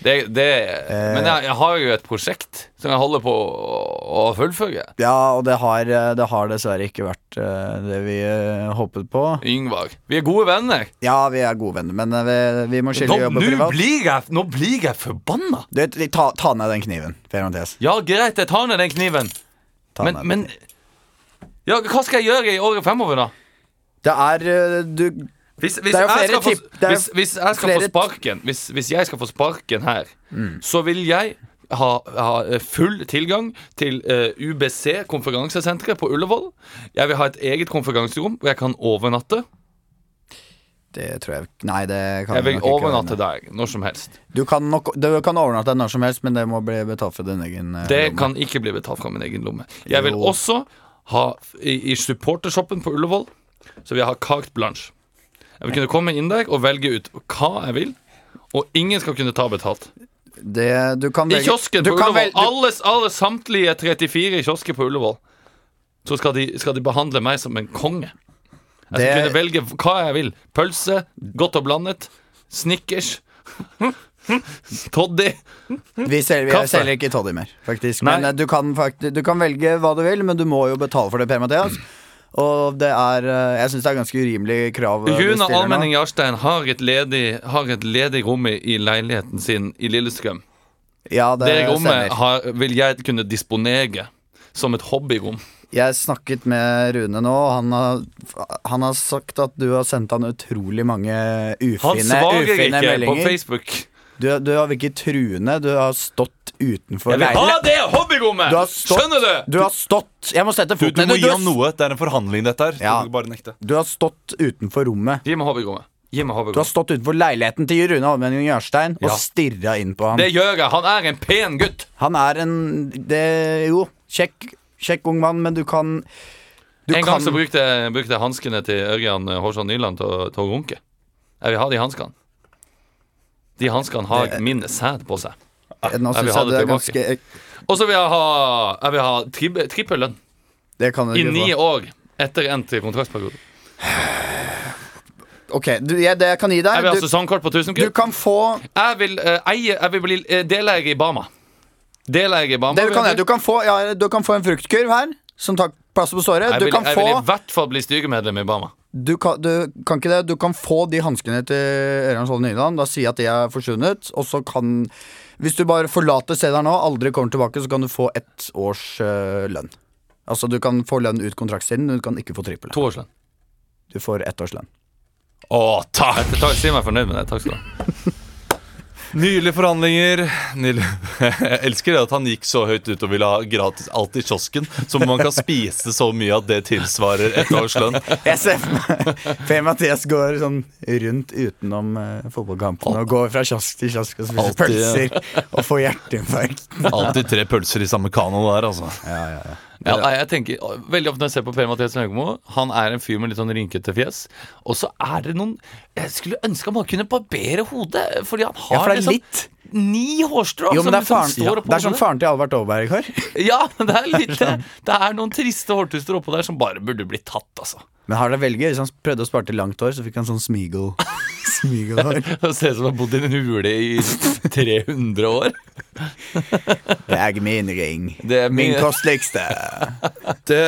Det, det Men jeg, jeg har jo et prosjekt som jeg holder på å, å fullføre. Ja, og det har, eh, det har dessverre ikke vært eh, det vi eh, håpet på. Yngvar. Vi er gode venner. Ja, vi er gode venner, men eh, vi, vi må skille jobb og nå privat. blir jeg, nå blir jeg forbanna! Du, vet, ta, ta ned den kniven, Per Mathias. Ja, greit, jeg tar ned den kniven. Ta ned Men, den. men ja, Hva skal jeg gjøre i året fremover, da? Det er eh, Du Hvis, hvis, Det er jo jeg skal flere få, tipp- det er hvis, hvis jeg skal få flere- Mm. sparken hvis, hvis jeg skal få sparken her, så vil jeg ha, ha eh, full tilgang til eh, UBC, konferansesenteret på Ullevål. Jeg vil ha et eget konferanserom hvor jeg kan overnatte. Det tror jeg Nei, det kan Jeg du vil nok ikke overnatte ordne. der når som helst. Du kan, nok, du kan overnatte når som helst, men det må bli betalt for din egen eh, Det lomme. kan ikke bli betalt fra min egen lomme. Jeg vil Jo. også ha i, i supportershoppen på Ullevål, så vil jeg ha carte blanche. Jeg vil kunne komme inn der og velge ut hva jeg vil, og ingen skal kunne ta betalt. Det, du kan I velge kiosken du på kan Ullevål. velge- du, Alle, alle samtlige 34 kiosker på Ullevål. Så skal de, skal de behandle meg som en konge. Jeg skal Det- kunne velge hva jeg vil. Pølse, godt og blandet, Snickers, [laughs] Toddy. vi selger, vi Kaffe. selger ikke Toddy mer, faktisk. Nei. Men eh, du kan, fakti- du kan velge hva du vil, men du må jo betale for det, Per-Mathias. Mm. Og det er eh, Jeg syns det er ganske urimelig krav. eh, du Rune stiller nå. Almenning Jarstein har et ledig, har et ledig rom i- i leiligheten sin i Lillestrøm. Ja, det, Det rommet stemmer. har, vil jeg kunne disponere som et hobbyrom. Jeg snakket med Rune nå, og han har, han har sagt at du har sendt han utrolig mange Han ufine, svarer ufine ikke på meldinger. Facebook. Du, du har virket truende, du har stått utenfor Jeg vil leiligheten. ha det hobbyrommet! Du har stått- Skjønner du? Du har stått Jeg må sette Du, du foten må ned. gi Du, ham du, noe. Det er en forhandling, dette her. Ja. Du kan bare nekte. du har stått utenfor rommet. Gi meg hobbyrommet. Gi Du meg har hobbyrommet. stått utenfor leiligheten til Rune Almenning Jarstein og Ja. stirra inn på ham. Det gjør jeg. Han er en pen gutt. Han er en det, Jo, kjekk, kjekk ung mann, men du kan Du en kan gang så brukte jeg, brukte jeg hanskene til Ørjan eh, Hårsson Nyland til, å- til å runke. Jeg vil ha de hanskene. De hanskene har min sæd på seg. Nå vil syns ha jeg det det er ganske tilbake. Og så vil jeg ha, jeg vil ha trib, trippel lønn Det kan du i ikke ni få. år etter endt kontraktsperiode. Ok, du, jeg, det jeg kan gi Jeg vil deg. ha Du, sesongkort på 1000 du kroner. kan få Jeg vil eh, eie Jeg vil bli eh, deleier i Bama. Deleier i Bama. Det du vil kan, jeg gjøre, du, kan få, ja, du kan få en fruktkurv her, som tar plass på såret. Jeg Du vil, kan, jeg få, vil i hvert fall bli styremedlem i Bama. du, kan, du kan ikke det. Du kan få de hanskene til Ørjan Skjold Nyland. Da si at de er forsvunnet, og så kan Hvis du bare forlater stedet her nå, aldri kommer tilbake, så kan du få ett års øh, lønn. Altså, du kan få lønn ut kontraktstiden, men du kan ikke få trippel. Toårslønn. Du får ett [laughs] års lønn. Å, takk! Jeg tar- sier meg fornøyd med det. Takk skal du ha. Nydelige forhandlinger. Nydelig. [laughs] Jeg elsker det at han gikk så høyt ut og ville ha gratis alt i kiosken. Som om man kan spise så mye at det tilsvarer et års lønn. Jeg ser for meg [laughs] Per Mathias går sånn rundt utenom uh, fotballkampen og går fra kiosk til kiosk og spiser Alltid, pølser og får hjerteinfarkt. Alltid tre pølser i samme kano der, altså. Ja, nei, jeg tenker å, Veldig ofte når jeg ser på Per-Mathias Høgmo, han er en fyr med litt sånn rynkete fjes. Og så er det noen Jeg skulle ønske han bare kunne barbere hodet, fordi han har Ja, for det er liksom litt ni hårstrå Jo, men som det er, liksom faren, ja, står oppå det er som hodet. faren til Albert Aaberg har. Ja, det er litt det. Det er noen triste hårtuster oppå der som bare burde bli tatt, altså. Men har det velge, Hvis han prøvde å spare til langt hår, så fikk han sånn [laughs] smigel. Smigelhår. Det ser ut som han har bodd i en hule i 300 år. Det er ikke min ring. Det er min min- kosteligste. Det,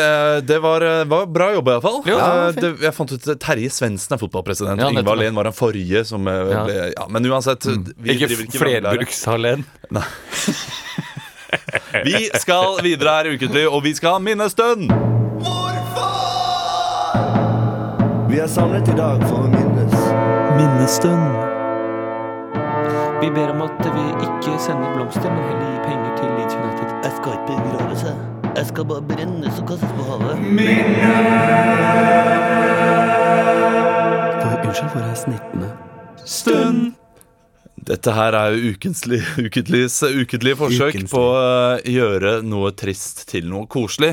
det var, eh, var bra jobb, iallfall. Jo, det Ja, var Eh, det, jeg fant ut at Terje Svendsen er fotballpresident. Ja, og Ingvar nettopp. Lehn var den forrige som eh, Ja. ble ja, Men uansett, vi Ikke driver ikke vranglære. flerbrukshalen. Vi skal videre her i Ukentlig, og vi skal ha minnestund! Vi er samlet i dag for å minnes. Vi ber om at vi ikke sender blomster, men heller gir penger til Leeds United. Jeg skal ikke begravelse. Jeg skal bare brennes og kastes på havet. Unnskyld for jeg snittende. Dette her er jo ukentlig, [laughs] ukentligs, ukentlige forsøk Ukentlig. på å gjøre noe trist til noe koselig.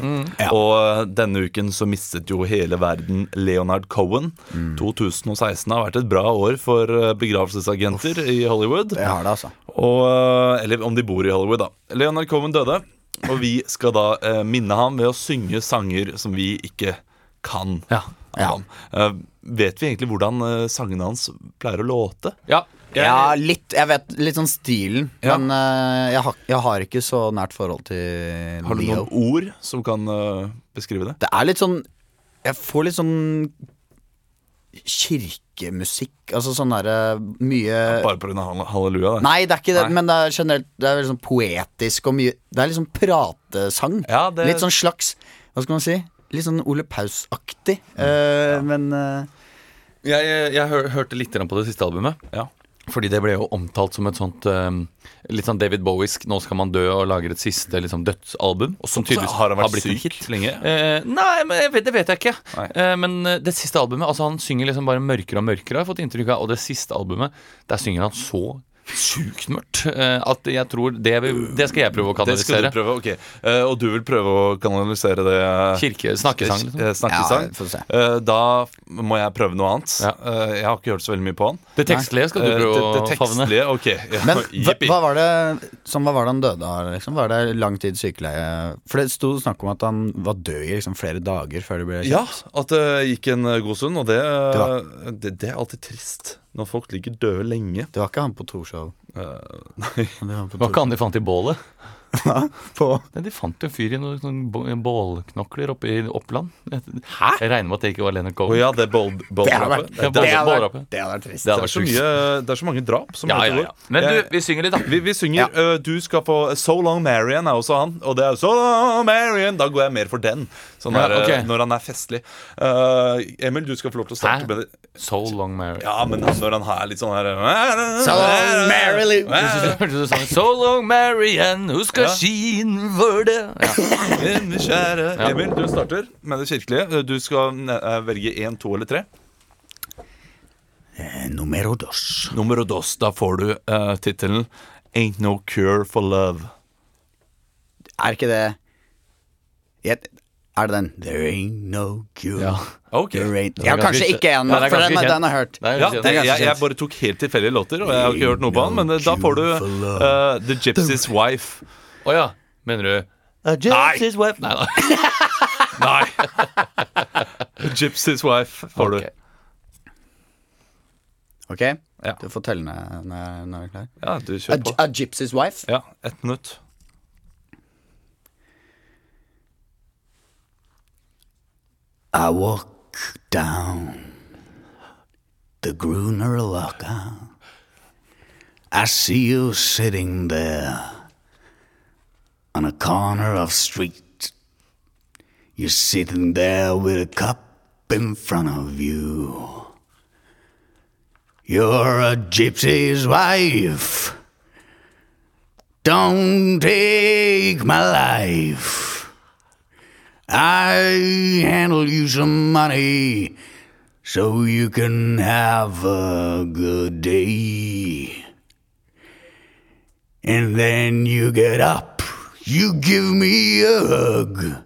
Og eh, denne uken så mistet jo hele verden Leonard Cohen. Mm. 2016 har vært et bra år for eh, begravelsesagenter i Hollywood. Jeg har det, altså. Og, eh, eller om de bor i Hollywood, da. Leonard Cohen døde, og vi skal da eh, minne ham ved å synge sanger som vi ikke kan. Ja. Ja. om. Eh, vet vi egentlig hvordan eh, sangene hans pleier å låte? Ja. Ja, litt Jeg vet litt sånn stilen, Ja. men eh, jeg, har, jeg har ikke så nært forhold til Har du Leo. noen ord som kan eh, beskrive det? Det er litt sånn Jeg får litt sånn kirkemusikk. Altså sånn derre mye Bare pga. halleluja? Det. Nei, det er ikke det, Nei. men det er generelt Det er veldig sånn poetisk og mye Det er liksom pratesang. Ja, det- Litt sånn slags Hva skal man si? Litt sånn Ole Paus-aktig. Eh, Men eh, Jeg, jeg hør, hørte litt grann på det siste albumet. Ja. Fordi det ble jo omtalt som et sånt um, litt sånn David Bowiesk 'Nå skal man dø' og lager et siste liksom, dødsalbum. Og som tydeligvis har han vært blitt en syk hit. lenge? Eh, nei, men jeg vet, det vet jeg ikke. Nei. Eh, men eh, det siste albumet Altså Han synger liksom bare mørkere og mørkere, har jeg fått inntrykk av. Og det siste albumet, der synger han så sjukt mørkt eh, at jeg tror det, vil- det skal jeg prøve å Det skal kanalisere. du prøve, ok Eh, Og du vil prøve å kanalisere det Kirke, snakkesang. Liksom. Eh, Snakkesang Ja, får se. Eh, Da må jeg prøve noe annet Ja. Eh, Jeg har ikke hørt så veldig mye på han Det tekstlige skal du Eh, prøve det, det å favne. tekstlige, ok ja, [laughs] Men hva, jippi. hva var det som, hva var det han døde av? Liksom? Var det lang tids sykeleie? For det sto snakk om at han var død i liksom, flere dager før det ble kjent. Ja, at det gikk en eh, god stund Og det, eh, Det det, det er alltid trist Når folk ligger døde lenge Det var ikke han på Torshov. Det var han på Hva Torshov. ikke han de fant i bålet? På, Nei, de fant en fyr i noen sånne bo- bålknokler oppe i Oppland. Hæ? Jeg regner med at det ikke var Leonard Å Cohen. ja, det er bold, bold det hadde vært Ja, det, bål- det hadde vært- bålrappe. det hadde vært trist. Det hadde er vært så sjukt. mye, det er så mange drap som Ja, heter ja, går. ja. Men Jeg- du, vi synger litt, da. Eh, Vi, vi synger øh, Du skal få So Long Marian er også han. Og det er So Long Marian. Da går jeg mer for den. Sånn Ja, der, øh, ok. Når han er festlig. Uh, Emil, du skal få lov til å Hæ? starte med det. So long, Mary. Ja, men han, når han er litt sånn her So long, [laughs] Marilyn. Hørte du sånn So long, Marian, who skal Ja. skien for det? Ja. Min kjære Ja. Emil, du starter med det kirkelige. Eh, Du skal øh, velge én, to eller tre. Numero dos. Nummer dos. Da får du uh, tittelen Ain't No Cure for Love. Er ikke det Jeg- Er det den? There ain't no cure. Ja. Ok. There ain't Den ja, er kanskje ganske ikke en, kjent. Den er for den, ganske den har jeg hørt. Det er Ja, jo det, kjent. jeg, jeg bare tok helt tilfeldige låter, og jeg har ikke hørt noe på han. Men eh, da får du eh, The Gypsy's Wife. Å ja. Mener du Nei! Nei da. Nei! [laughs] The Gypsy's Wife får Ok. Ok? Ja. Du får telle ned når jeg- når jeg er klar. du. Ja, du A, kjører på. a gypsy's wife? Ja, ett minutt. I walk down the Gruner Locker. I see you sitting there on a corner of street. You're sitting there with a cup in front of you. You're a gypsy's wife. Don't take my life. I handle you some money so you can have a good day. And then you get up, you give me a hug.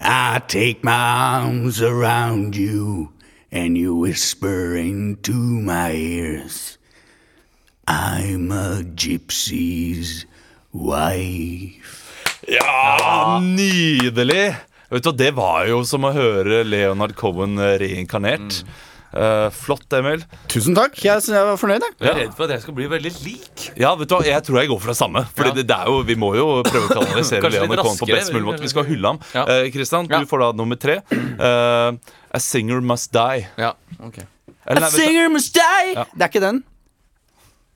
I take my arms around you and you whisper into my ears. I'm a gypsy's wife. Ja, nydelig! Vet du, hva, Det var jo som å høre Leonard Cohen eh, reinkarnert. Mm. Eh, flott, Emil. Tusen takk. Jeg synes jeg var fornøyd. Jeg. Jeg er redd for at jeg skal bli veldig lik. Ja, vet du hva, Jeg tror jeg går for det samme. Fordi det, det er jo, Vi må jo [laughs] prøve å kanalisere Kanskje litt Leonard Cohen på raskere. best mulig måte. Vi skal hylle ham. Ja. Eh, Kristian, Ja. du får da nummer tre. Eh, A Singer Must Die. Ja, ok Eller, nei, vet du- must die! Ja. Det er ikke den?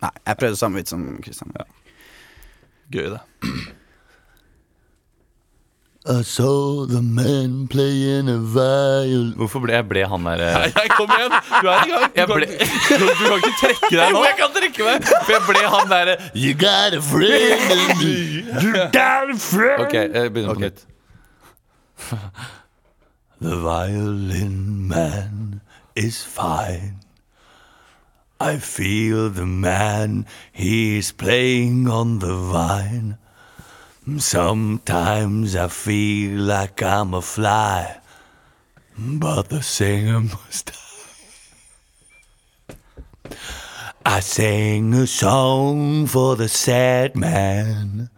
Nei, jeg prøvde samme vits som Christian. Gøy, det. I saw the man playing a violin Hvorfor ble jeg ble han der eh, Nei, kom igjen! Du er i gang. Du, Jeg kan, ble- du, du kan ikke trekke deg Jo, nå. jeg kan drikke meg! For jeg ble han der eh, You got a friend in me Ok, jeg begynner på nytt. The violin man is fine. I feel the man he is playing on the vine. Sometimes I feel like I'm a fly, but the singer must die. I sing a song for the sad man.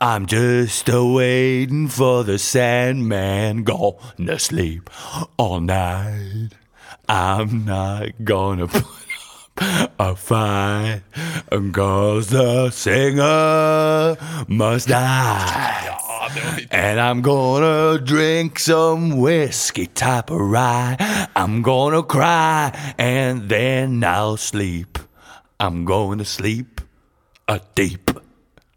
I'm just a waiting for the Sandman gonna sleep all night. I'm not gonna [laughs] put up a fight, cause the singer must die. And I'm gonna drink some whiskey type of rye. I'm gonna cry and then I'll sleep. I'm gonna sleep a deep.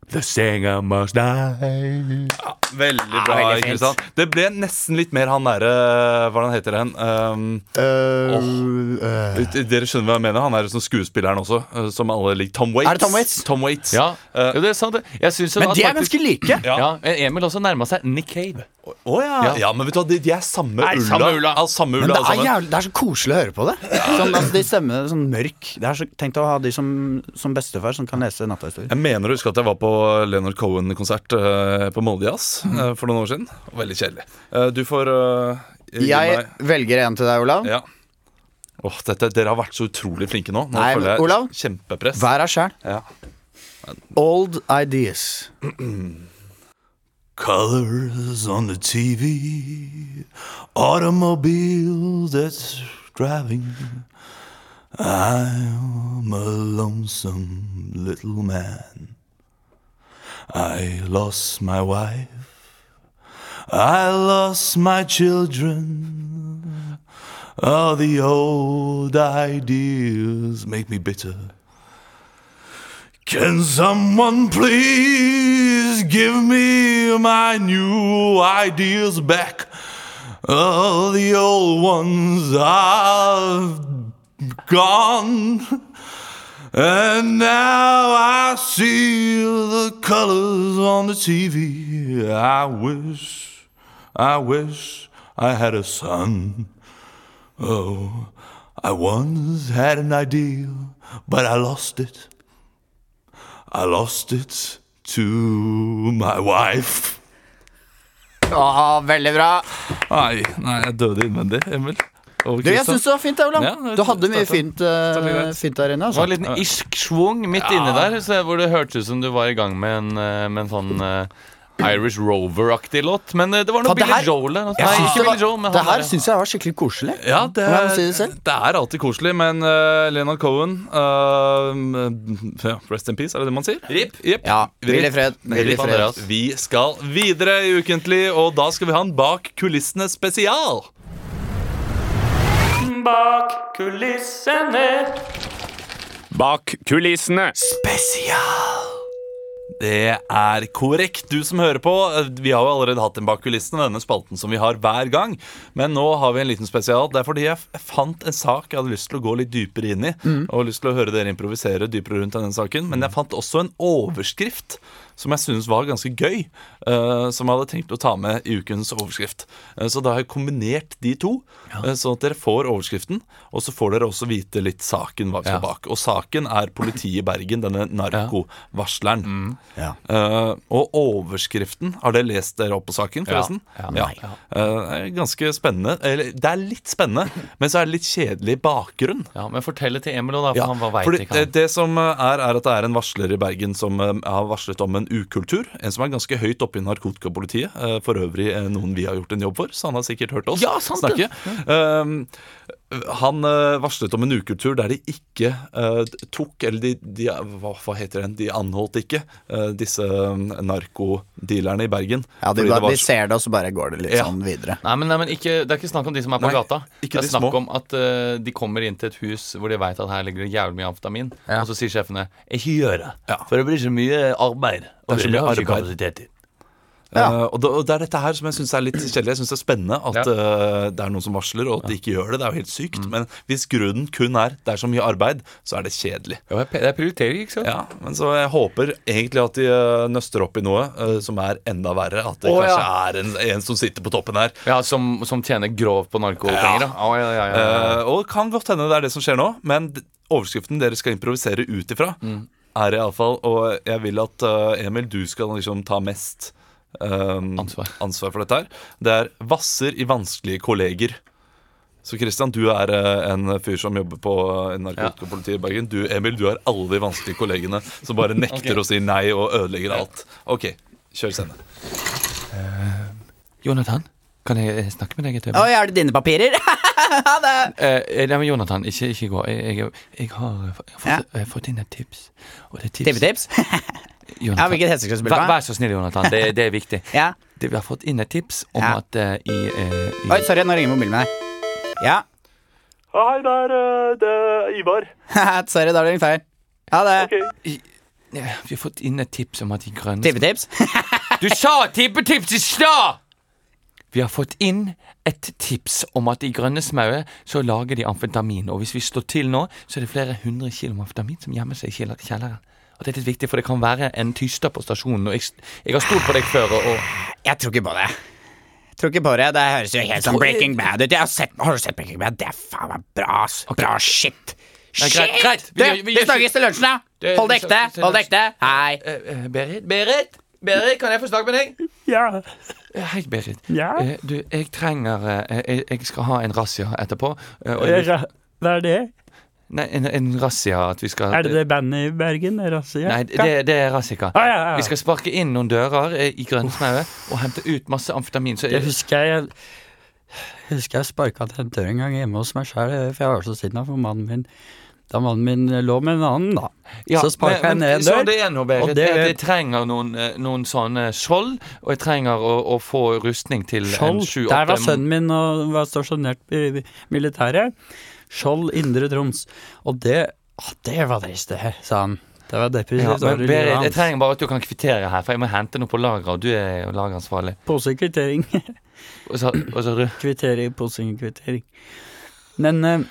The singer must die. Veldig Ah, bra, Kristian. Det ble nesten litt mer han derre Hva er det han heter hen? Ehm, Dere skjønner hva jeg mener? Han er sånn skuespilleren også, eh, som alle liker. Tom Waits. Er det Tom Waits? Tom Waits. Eh, Ja, jo, det er sant. det. Jeg synes jo Men at de er faktisk- ganske like! ja. men Emil også nærma seg Nick Cave. Å ja. ja. men vet du hva, de, de er samme Nei, ulla. samme ulla. Ja, samme Men ulla det alle er, sammen. jævlig, det er så koselig å høre på det. Sånn, altså, de stemmer sånn mørk. Det er så, tenk deg å ha de som, som bestefar som kan lese nattahistorier. Jeg mener å huske at jeg var på Leonard Cohen-konsert eh, på Molde Jazz Mhm. eh, for noen år siden. Veldig kjedelig. Eh, du får eh, gi Jeg meg- velger en til deg, Olav. Ja. Åh, dette, dere har vært så utrolig flinke nå. Nå Nei, føler jeg Olav? kjempepress. Hver er sjæl. Ja. Old ideas. Colors on the TV, automobile that's driving. I'm a lonesome little man. I lost my wife. I lost my children. All the old ideas make me bitter. Can someone please give me my new ideas back? All the old ones are gone. And now I see the colors on the TV. I wish, I wish I had a son. Oh, I once had an ideal, but I lost it. I lost it to my wife. Å, veldig bra. Nei, nei, jeg døde innvendig, Emil. Og Du, jeg Kristian. syns det var fint, det, Olav. Ja, Du hadde mye startet- fint, eh, startet greit. fint der inne. Det var Altså. en liten irsk schwung midt inne der, så hvor det hørtes ut som du var i gang med en, eh, med en sånn eh, Irish Rover-aktig låt. Men eh, det var noe Faen, det Billy her- Joel der. altså. Jeg Nei, synes ikke det, Billy Joel, var, men det han her der. syns jeg var skikkelig koselig. Ja, det Om jeg må si er, det selv. det er alltid koselig, men eh, Leonard Cohen eh, ja, Rest in peace, er det det man sier? Rip. Ja, hvil i fred. Hvil i fred. Vi skal videre i Ukentlig, og da skal vi ha en Bak kulissene spesial. Bak kulissene. Det er korrekt, du som hører på. Vi har jo allerede hatt en bak kulissene, denne spalten som vi har hver gang. Men nå har vi en liten spesial. Det er fordi jeg f- fant en sak jeg hadde lyst til å gå litt dypere inn i. Og lyst til å høre dere improvisere dypere rundt denne saken. Men jeg fant også en overskrift som jeg synes var ganske gøy. eh, som jeg hadde tenkt å ta med i ukens overskrift. Eh, så da har jeg kombinert de to, eh, sånn at dere får overskriften. Og så får dere også vite litt saken hva vi skal bak. Og saken er politiet i Bergen, denne narkovarsleren. Eh, og overskriften, har dere lest dere opp på saken forresten? Ja, Eh, er ganske spennende, eller det er litt spennende, men så er det litt kjedelig bakgrunn. Ja, men fortell det til Emil, da, for Ja, han var veit fordi ikke det, han. det som eh, er, er at det er en varsler i Bergen som eh, har varslet om en ukultur. En som er ganske høyt oppe i narkotikapolitiet. eh, For øvrig eh, noen vi har gjort en jobb for, så han har sikkert hørt oss Ja, sant snakke. det. Um, han eh, varslet om en ukultur der de ikke eh, tok Eller de, de hva, hva heter den? De anholdt ikke eh, disse um, narkodealerne i Bergen. Ja, de, fordi bare, det var de ser det, og så bare går det litt Ja. sånn videre. Nei, men, nei, men ikke, Det er ikke snakk om de som er på Nei, gata. ikke Det er de snakk små. om at eh, de kommer inn til et hus hvor de veit at her ligger det jævlig mye amfetamin. Og så sier sjefene 'ikke gjør det', Ja. for det blir så mye arbeid. Og Det er det så mye har vi ikke arbeid. kapasitet til. Ja. Eh, og, det, og det er dette her som jeg syns er litt kjedelig. Jeg syns det er spennende at eh, det er noen som varsler, og at de ikke gjør det. Det er jo helt sykt. Mm. Men hvis grunnen kun er det er så mye arbeid, så er det kjedelig. Ja, det er prioritering, ikke sant? Ja, Men så jeg håper egentlig at de eh, nøster opp i noe eh, som er enda verre. At det Å, kanskje ja. er en, en som sitter på toppen her. Ja, Som, som tjener grovt på narkopenger, da. Å, ja, ja, ja, ja. Eh, og det kan godt hende det er det som skjer nå, men d- overskriften dere skal improvisere ut ifra, er iallfall Og jeg vil at eh, Emil, du skal liksom ta mest eh, Ansvar. ansvar for dette her. Det er 'vasser i vanskelige kolleger'. Så Christian, du er eh, en fyr som jobber på eh, narkotikapolitiet i Bergen. Du, Emil, du er alle de vanskelige kollegene som bare nekter å si nei og ødelegger alt. Ok, kjør scene. Jonathan, kan jeg eh, snakke med deg et øyeblikk? Oi, er det dine papirer? [laughs] Eh, eh, nei, men Jonathan, ikke, ikke gå. Jeg, jeg, jeg har eh, fått, Ja. eh, fått inn et tips. Og det er tips, Tippetips? [laughs] Jonathan. Ja, hvilket hestekrøll spiller Vær, du på? vær så snill, Jonathan. Det, det er viktig. Ja. Det, vi har fått inn et tips om Ja. at eh, i, eh, i Oi, sorry, nå ringer mobilen med deg. Ja. Hei, det er, eh, det er Ivar. sorry, da har du ringt feil. Ha det. eh, Vi har fått inn et tips om at de grønne Tippetips? Du sa tippetips i stad! Vi har fått inn et tips om at i grønne smaue så lager de amfetamin. Og hvis vi står til nå, så er det flere hundre kilo med amfetamin som gjemmer seg i kjeller- kjelleren. Og dette er viktig, for det kan være en tyster på stasjonen. Og jeg, s- jeg har stolt på deg før. Og, og Jeg tror ikke på det. Tror ikke på det. Det høres jo helt som Breaking Bad ut. Jeg har, sett, har du sett Breaking Bad? Det er faen meg bra, ass. Bra shit. Ja, Shit! greit, greit. Vi Du, gjør- vi vi gjør- snakkes til lunsjen, da. Det- Hold det vi ekte. snakkes til Hold det lunsj. ekte. Hei. Eh, eh, Berit? Berit? Berit, kan jeg få snakke med deg? Ja. Eh, Hei, Berit. Ja? Eh, Du, jeg trenger eh, jeg, jeg skal ha en razzia etterpå. eh, og jeg- Ra- Hva er det? Nei, en, en razzia at vi skal Er det det bandet i Bergen? Razzia? Nei, det, det er razzika. Ah, ja, ja. Vi skal sparke inn noen dører eh, i grønnsmauet og hente ut masse amfetamin. Så Jeg husker jeg Husker jeg sparka til en dør en gang hjemme hos meg sjøl, for jeg var så sinna for mannen min. Da mannen min eh, lå med en annen, da. Ja, så sparka jeg men- ned en Så dør. det er noe, Berit, og det det- er at jeg trenger noen, eh, noen sånne skjold, og jeg trenger å, å få rustning til en Skjold. sju-åtte Der var sønnen min og var stasjonert i militæret. Skjold Indre Troms. Og det å, Det var trist, det her, sa han. Det var Ja, depressivt. men det var livet Berit, jeg hans. trenger bare at du kan kvittere her, for jeg må hente noe på lageret, og du er jo lageransvarlig. Pose kvittering. Og så, og så ru- kvittering, pose kvittering. Men eh, ikke,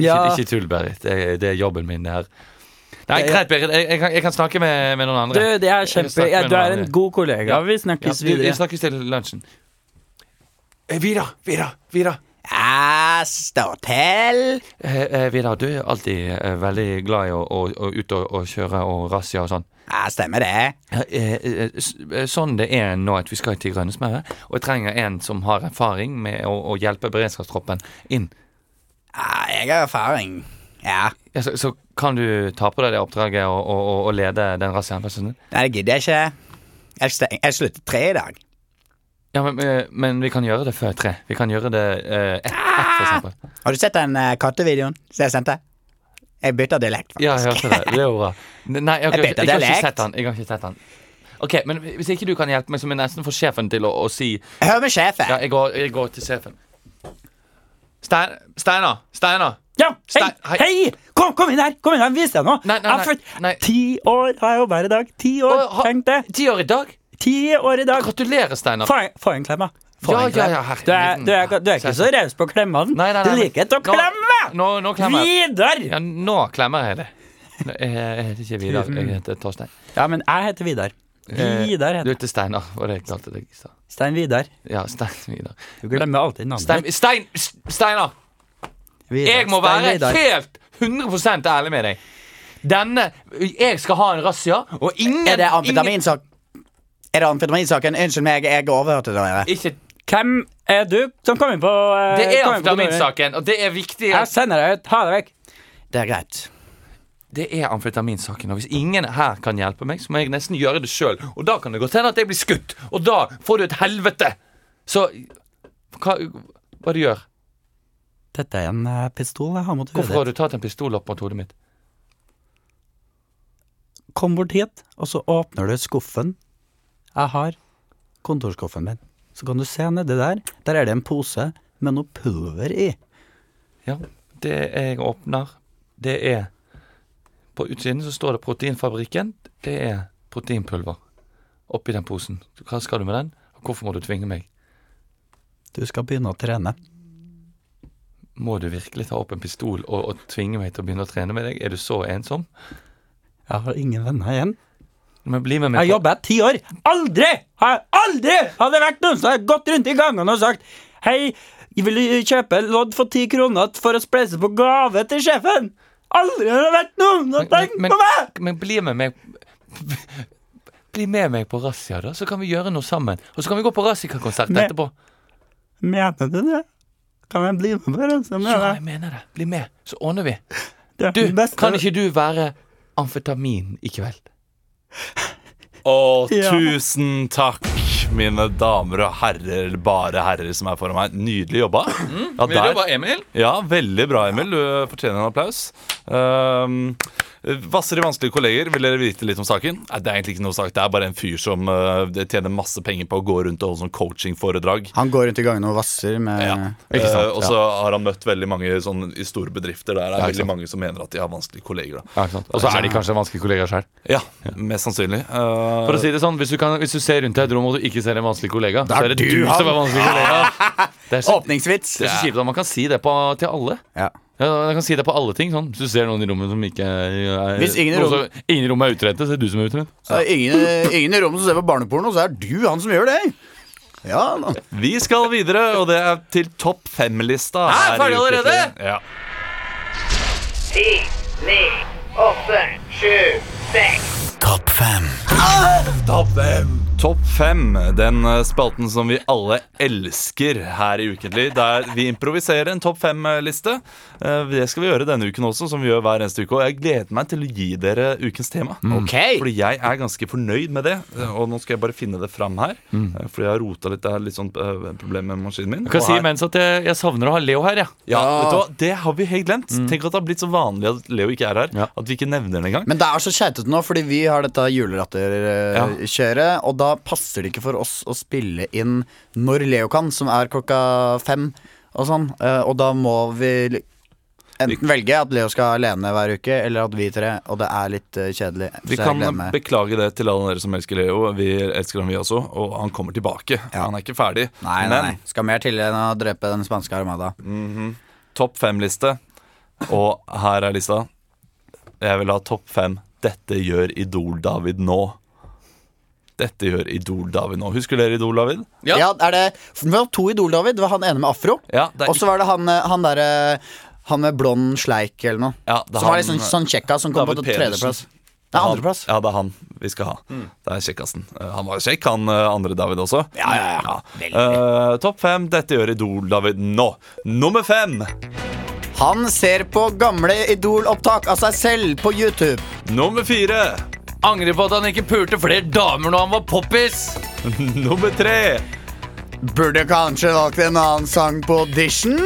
ja, ikke tull, Berit. Det, er- det er jobben min, det her. Nei, greit, Berit. Jeg, jeg, kan, jeg kan snakke med, med noen du, andre. det er snakke kjempe med ja, Du noen er en andre. god kollega. Ja. Vi Ja, snakkes vi, vi videre. snakkes til lunsjen. Eh, Vidar, Vidar, Vidar. Ja, står til. Eh, eh, Vidar, du er alltid eh, veldig glad i å, å, å ut og, og kjøre og razzia og sånn. Ja, stemmer det. Ja, eh, eh, s- eh, Sånn det er nå at vi skal til Grønnesmøre, og jeg trenger en som har erfaring med å, å hjelpe beredskapstroppen inn. Ja, Ah, jeg har erfaring. Ja. Ja, så, så kan du ta på deg det oppdraget og, og, og, og lede den razziaen? på søndag? Nei, det gidder jeg ikke. Jeg, steng- jeg slutter tre i dag. Ja, men, eh, men vi kan gjøre det før tre. Vi kan gjøre det eh, ett, ett, for eksempel. Har du sett den eh, kattevideoen som jeg sendte? Jeg bytter dialekt, faktisk. Ja, jeg hørte det. Det er jo bra. Nei, jeg, har Jeg vet ikke- at jeg, jeg har ikke lekte. sett den. Jeg har ikke sett den. Ok, men Hvis ikke du kan hjelpe meg, så må jeg nesten få sjefen til å, å si Hør med sjefen. Ja, jeg går, jeg går til sjefen. Stein, Steinar! Steinar! Ja, hei, Stein- hei. hei! Kom, kom inn her! Kom inn her, Vis deg nå! Nei, nei, Jeg er nei, født- nei. Ti år har jeg jobba her i dag. Ti år, Å, ha- tenk det! Ti år i dag? Ti år i dag! Gratulerer, Steinar. Få en- få en klem, da. Få Ja, en klem. ja, ja, herregud. du, er, du, er, du er ikke så raus på å klemme den. Nei, nei, Du nei, men- liker ikke å Nå- klemme! Nå, nå klemmer jeg. Vidar! Ja, nå klemmer jeg det. Nå, Jeg jeg heter ikke Vidar, jeg heter Torstein. Ja, men jeg heter Vidar. Eh, Vidar Du heter jeg. heter Steinar, var det jeg kalte deg i stad. Stein Vidar. Ja, Stein Vidar. Du glemmer alltid navnet. Stein, Stein S- Steinar! Vidar. Jeg må Stein være Vidar. helt 100 ærlig med deg. Denne Jeg skal ha en razzia, og ingen Er det ingen- amfetaminsak... Er det amfetaminsaken? Unnskyld meg, jeg overhørte dere. Ikke Hvem er du som kommer på eh, Det er kom inn på kontoret? amfetaminsaken, og det er viktig. Jeg sender deg ut. Ha det vekk. Det er greit. Det er amfetaminsaken, og hvis ingen her kan hjelpe meg, så må jeg nesten gjøre det sjøl. Og da kan det godt hende at jeg blir skutt, og da får du et helvete. Så hva, hva du gjør? Dette er en eh, pistol jeg har mot Hvorfor hodet. har du tatt en pistol opp mot hodet mitt? Kom bort hit, og så åpner du skuffen. Jeg har kontorskuffen min. Så kan du se nedi der. Der er det en pose med noe pulver i. Ja, det jeg åpner, det er På utsiden så står det Proteinfabrikken. Det er proteinpulver oppi den posen. Hva skal du med den? Og hvorfor må du tvinge meg? Du skal begynne å trene. Må du virkelig ta opp en pistol og, og tvinge meg til å begynne å trene med deg? Er du så ensom? Jeg har ingen venner igjen. Men bli med meg Jeg på jobber her ti år. Aldri! har- Aldri har det vært noen som har gått rundt i gangen og sagt Hei, jeg vil du kjøpe lodd for ti kroner for å spleise på gave til sjefen? Aldri har det vært noen som har tenkt men, på meg! men bli med meg Bli med meg på razzia, da, så kan vi gjøre noe sammen. Og så kan vi gå på razzikakonsert Men- etterpå. Mener du det? Kan jeg bli med på det? Så Ja, mener jeg jeg. mener det. Bli med, så ordner vi. Det er Du, den beste- kan ikke du være amfetamin i kveld? Og Ja. tusen takk, mine damer og herrer, eller bare herrer som er foran meg. Nydelig jobba. Ja, der- Emil. ja, veldig bra, Emil. Du eh, fortjener en applaus. Um, Vasser i vanskelige kolleger, vil dere vite litt om saken? Nei, det er egentlig ikke noe sak. Det er bare en fyr som uh, tjener masse penger på å gå rundt og holde sånn coachingforedrag. Han går rundt i gangene og vasser med Ja. Eh, og så har han møtt veldig mange sånn, i store bedrifter der det er veldig mange som mener at de har vanskelige kolleger. Da. Og så er de kanskje vanskelige kollegaer sjøl. Ja, mest sannsynlig. Eh, For å si det sånn, hvis du, kan, hvis du ser rundt deg i et rom og du ikke ser en vanskelig kollega, så er det du, som er vanskelig kollega. Det er så, det Åpningsvits! er så kjipt at man kan si det på, til alle. Ja. Ja, Man kan si det på alle ting. sånn Hvis du ser noen i rommet som ikke er Hvis ingen i noen som- ingen i rommet er utrente, så er det du som er utrent. Så er ingen, ingen i rommet som ser på barneporno, så er du han som gjør det! Vi skal videre, og det er til topp fem-lista. Hæ, her i ferdig allerede? Ukentlig. Ja. Ti, ni, åtte, sju, seks. Topp fem. Topp fem. Den eh, spalten som vi alle elsker her i Ukentlig, der vi improviserer en topp fem-liste. Eh, Det skal vi gjøre denne uken også, som vi gjør hver eneste uke. Og jeg gleder meg til å gi dere ukens tema. Fordi jeg er ganske fornøyd med det. Eh, Og nå skal jeg bare finne det fram her. Mm. Eh, Fordi jeg har rota litt. Det er litt sånn eh, problem med maskinen min. Jeg kan Og si her- imens at jeg, jeg savner å ha Leo her, jeg. ja, vet du hva? Det har vi helt glemt. Mm. Tenk at det har blitt så vanlig at Leo ikke er her. At vi ikke nevner den engang. Men det er så keitete nå, fordi vi har dette juleratterkjøret. Og da passer det ikke for oss å spille inn når Leo kan, som er klokka fem og sånn. Eh, Og da må vi enten velge at Leo skal alene hver uke, eller at vi tre. Og det er litt eh, kjedelig. Vi så jeg kan gleder meg. beklage det til alle dere som elsker Leo. Vi elsker ham, vi også. Og han kommer tilbake. Han er ikke ferdig. Nei, nei, nei. Skal mer til enn å drepe den spanske armada. Topp fem-liste. Og her er lista. Jeg vil ha topp fem. Dette gjør Idol-David nå. Dette gjør Idol-David nå. Husker dere Idol-David? Ja. er det for Det var to Idol, David. Det var han ene med afro. det er og så var det han, eh, han derre Han med blond sleik eller noe. Ja, det er som var han- litt sånn, sånn kjekka som kom David på Pedersen. tredjeplass. Det er Han- andreplass. Mm. Ja, det er han vi skal ha. Det er kjekkasen. Eh, Han var kjekk, han eh, andre David også. Ja, ja, ja. Eh, Topp fem. Dette gjør Idol-David nå. Nummer fem. Han ser på gamle Idol-opptak av seg selv på YouTube. Nummer fire. Angrer på at han ikke pulte flere damer når han var poppis. Nummer tre. Burde kanskje valgt en annen sang på audition?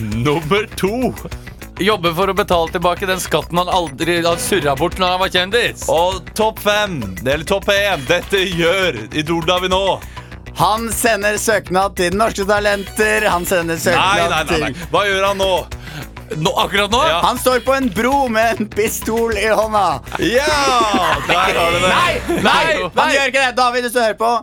Nummer to. Jobbe for å betale tilbake den skatten han aldri han surra bort når han var kjendis. Og topp fem, eller topp én, dette gjør Idol-David nå. Han sender søknad til Norske Talenter. Han sender Nei, søknad nei, nei, nei. til Hva gjør han nå? akkurat nå? Han står på en bro med en pistol i hånda. Ja! Der har du det. Nei, nei, Han gjør ikke det. David, hvis du hører på.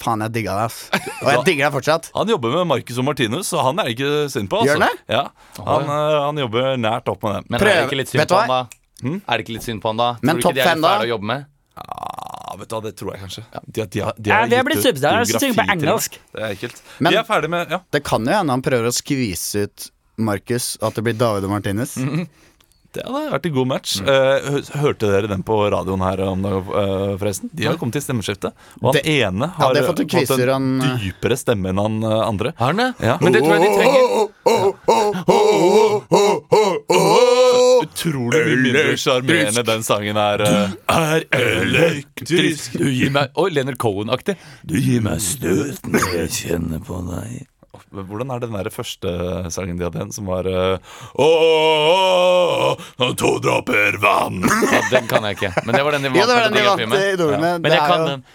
Faen, jeg digga deg, ass. Og jeg digger deg fortsatt. Han jobber med Marcus og Martinus, og han er ikke synd på. Gjør Altså. han det? Ja, han, eh, han jobber nært opp med det. Men er det ikke litt synd Vet du på hva? han da? Er det ikke litt synd på han da? Men Tror du topp ikke de er fem litt da? fæle å jobbe med? Ja, vet du hva, det tror jeg kanskje. De, de, har- de Ja, har vi er gitt blitt ut subsidiære, så syng på biografi til engelsk. oss. Det er ekkelt. Men- Vi er ferdig med Ja, Det kan jo hende han prøver å skvise ut Markus, at det blir David og Martinez. det hadde vært en god match. Eh, hø- hørte dere den på radioen her om dagen, eh, forresten? De har kommet til stemmeskifte, og han Det- ene har det har fått en kviser, han, eh. dypere stemme enn han eh, andre. Har han det? Ja. Men det tror jeg de trenger. Utrolig mye mindre sjarmerende den sangen er. eh. Er elektrisk. Du gir meg Oi, Leonard Cohen-aktig. Du gir meg støt når jeg kjenner på deg. Men Hvordan er den der første sangen de hadde igjen, som var eh, Åh, to dråper vann Ja, den kan jeg ikke. Men det var den de Ja, det var vant den de vant med. i idolene. Men Det jeg er kan jo- den.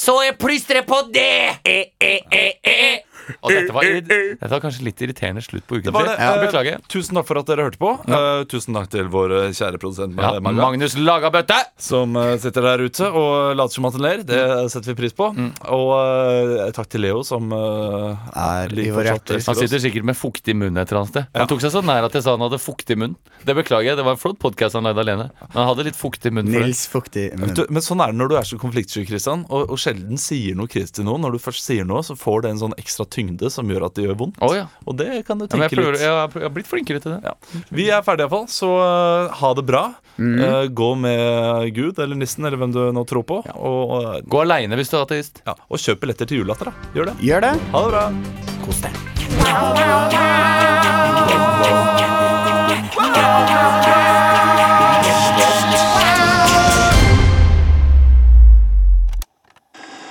Så jeg plystrer på det! E, e, e, e. Og dette var, irri- dette var kanskje litt irriterende slutt på uken. Det var det. Ja. Eh, Beklager. Tusen takk for at dere hørte på. Eh, tusen takk til vår kjære produsent Ja, Magda, Magnus Lagabøtte! som eh, sitter der ute og later som at han ler. Det Mm. setter vi pris på. Og eh, takk til Leo, som eh, Er like i våre fortsatt hjerter. elsker Han oss. sitter sikkert med fuktig munn et eller annet sted. Han tok seg så nær at jeg sa han hadde fuktig munn. Det beklager jeg, det var en flott podkast han lagde alene. Men han hadde litt fuktig munn for det. Nils Fuktig. Men Du, men sånn er det når du er så konfliktsky, Kristian. Og, og sjelden sier noe kritisk til noen. Når du først sier noe, så får det en sånn ekstra tyngde som gjør at det gjør vondt. Å, ja. Og det kan du Ja, men tenke jeg, prøver, litt. jeg, har- jeg har blitt flinkere til det. Ja. Vi er ferdige iallfall, så eh, ha det bra. Mm. Eh, gå med Gud eller nissen eller hvem du nå tror på. Og, og, Gå aleine hvis du er ateist. ja, og kjøp billetter til julelatter, da. Gjør det. Gjør det. Ha det bra.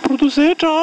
Produsert av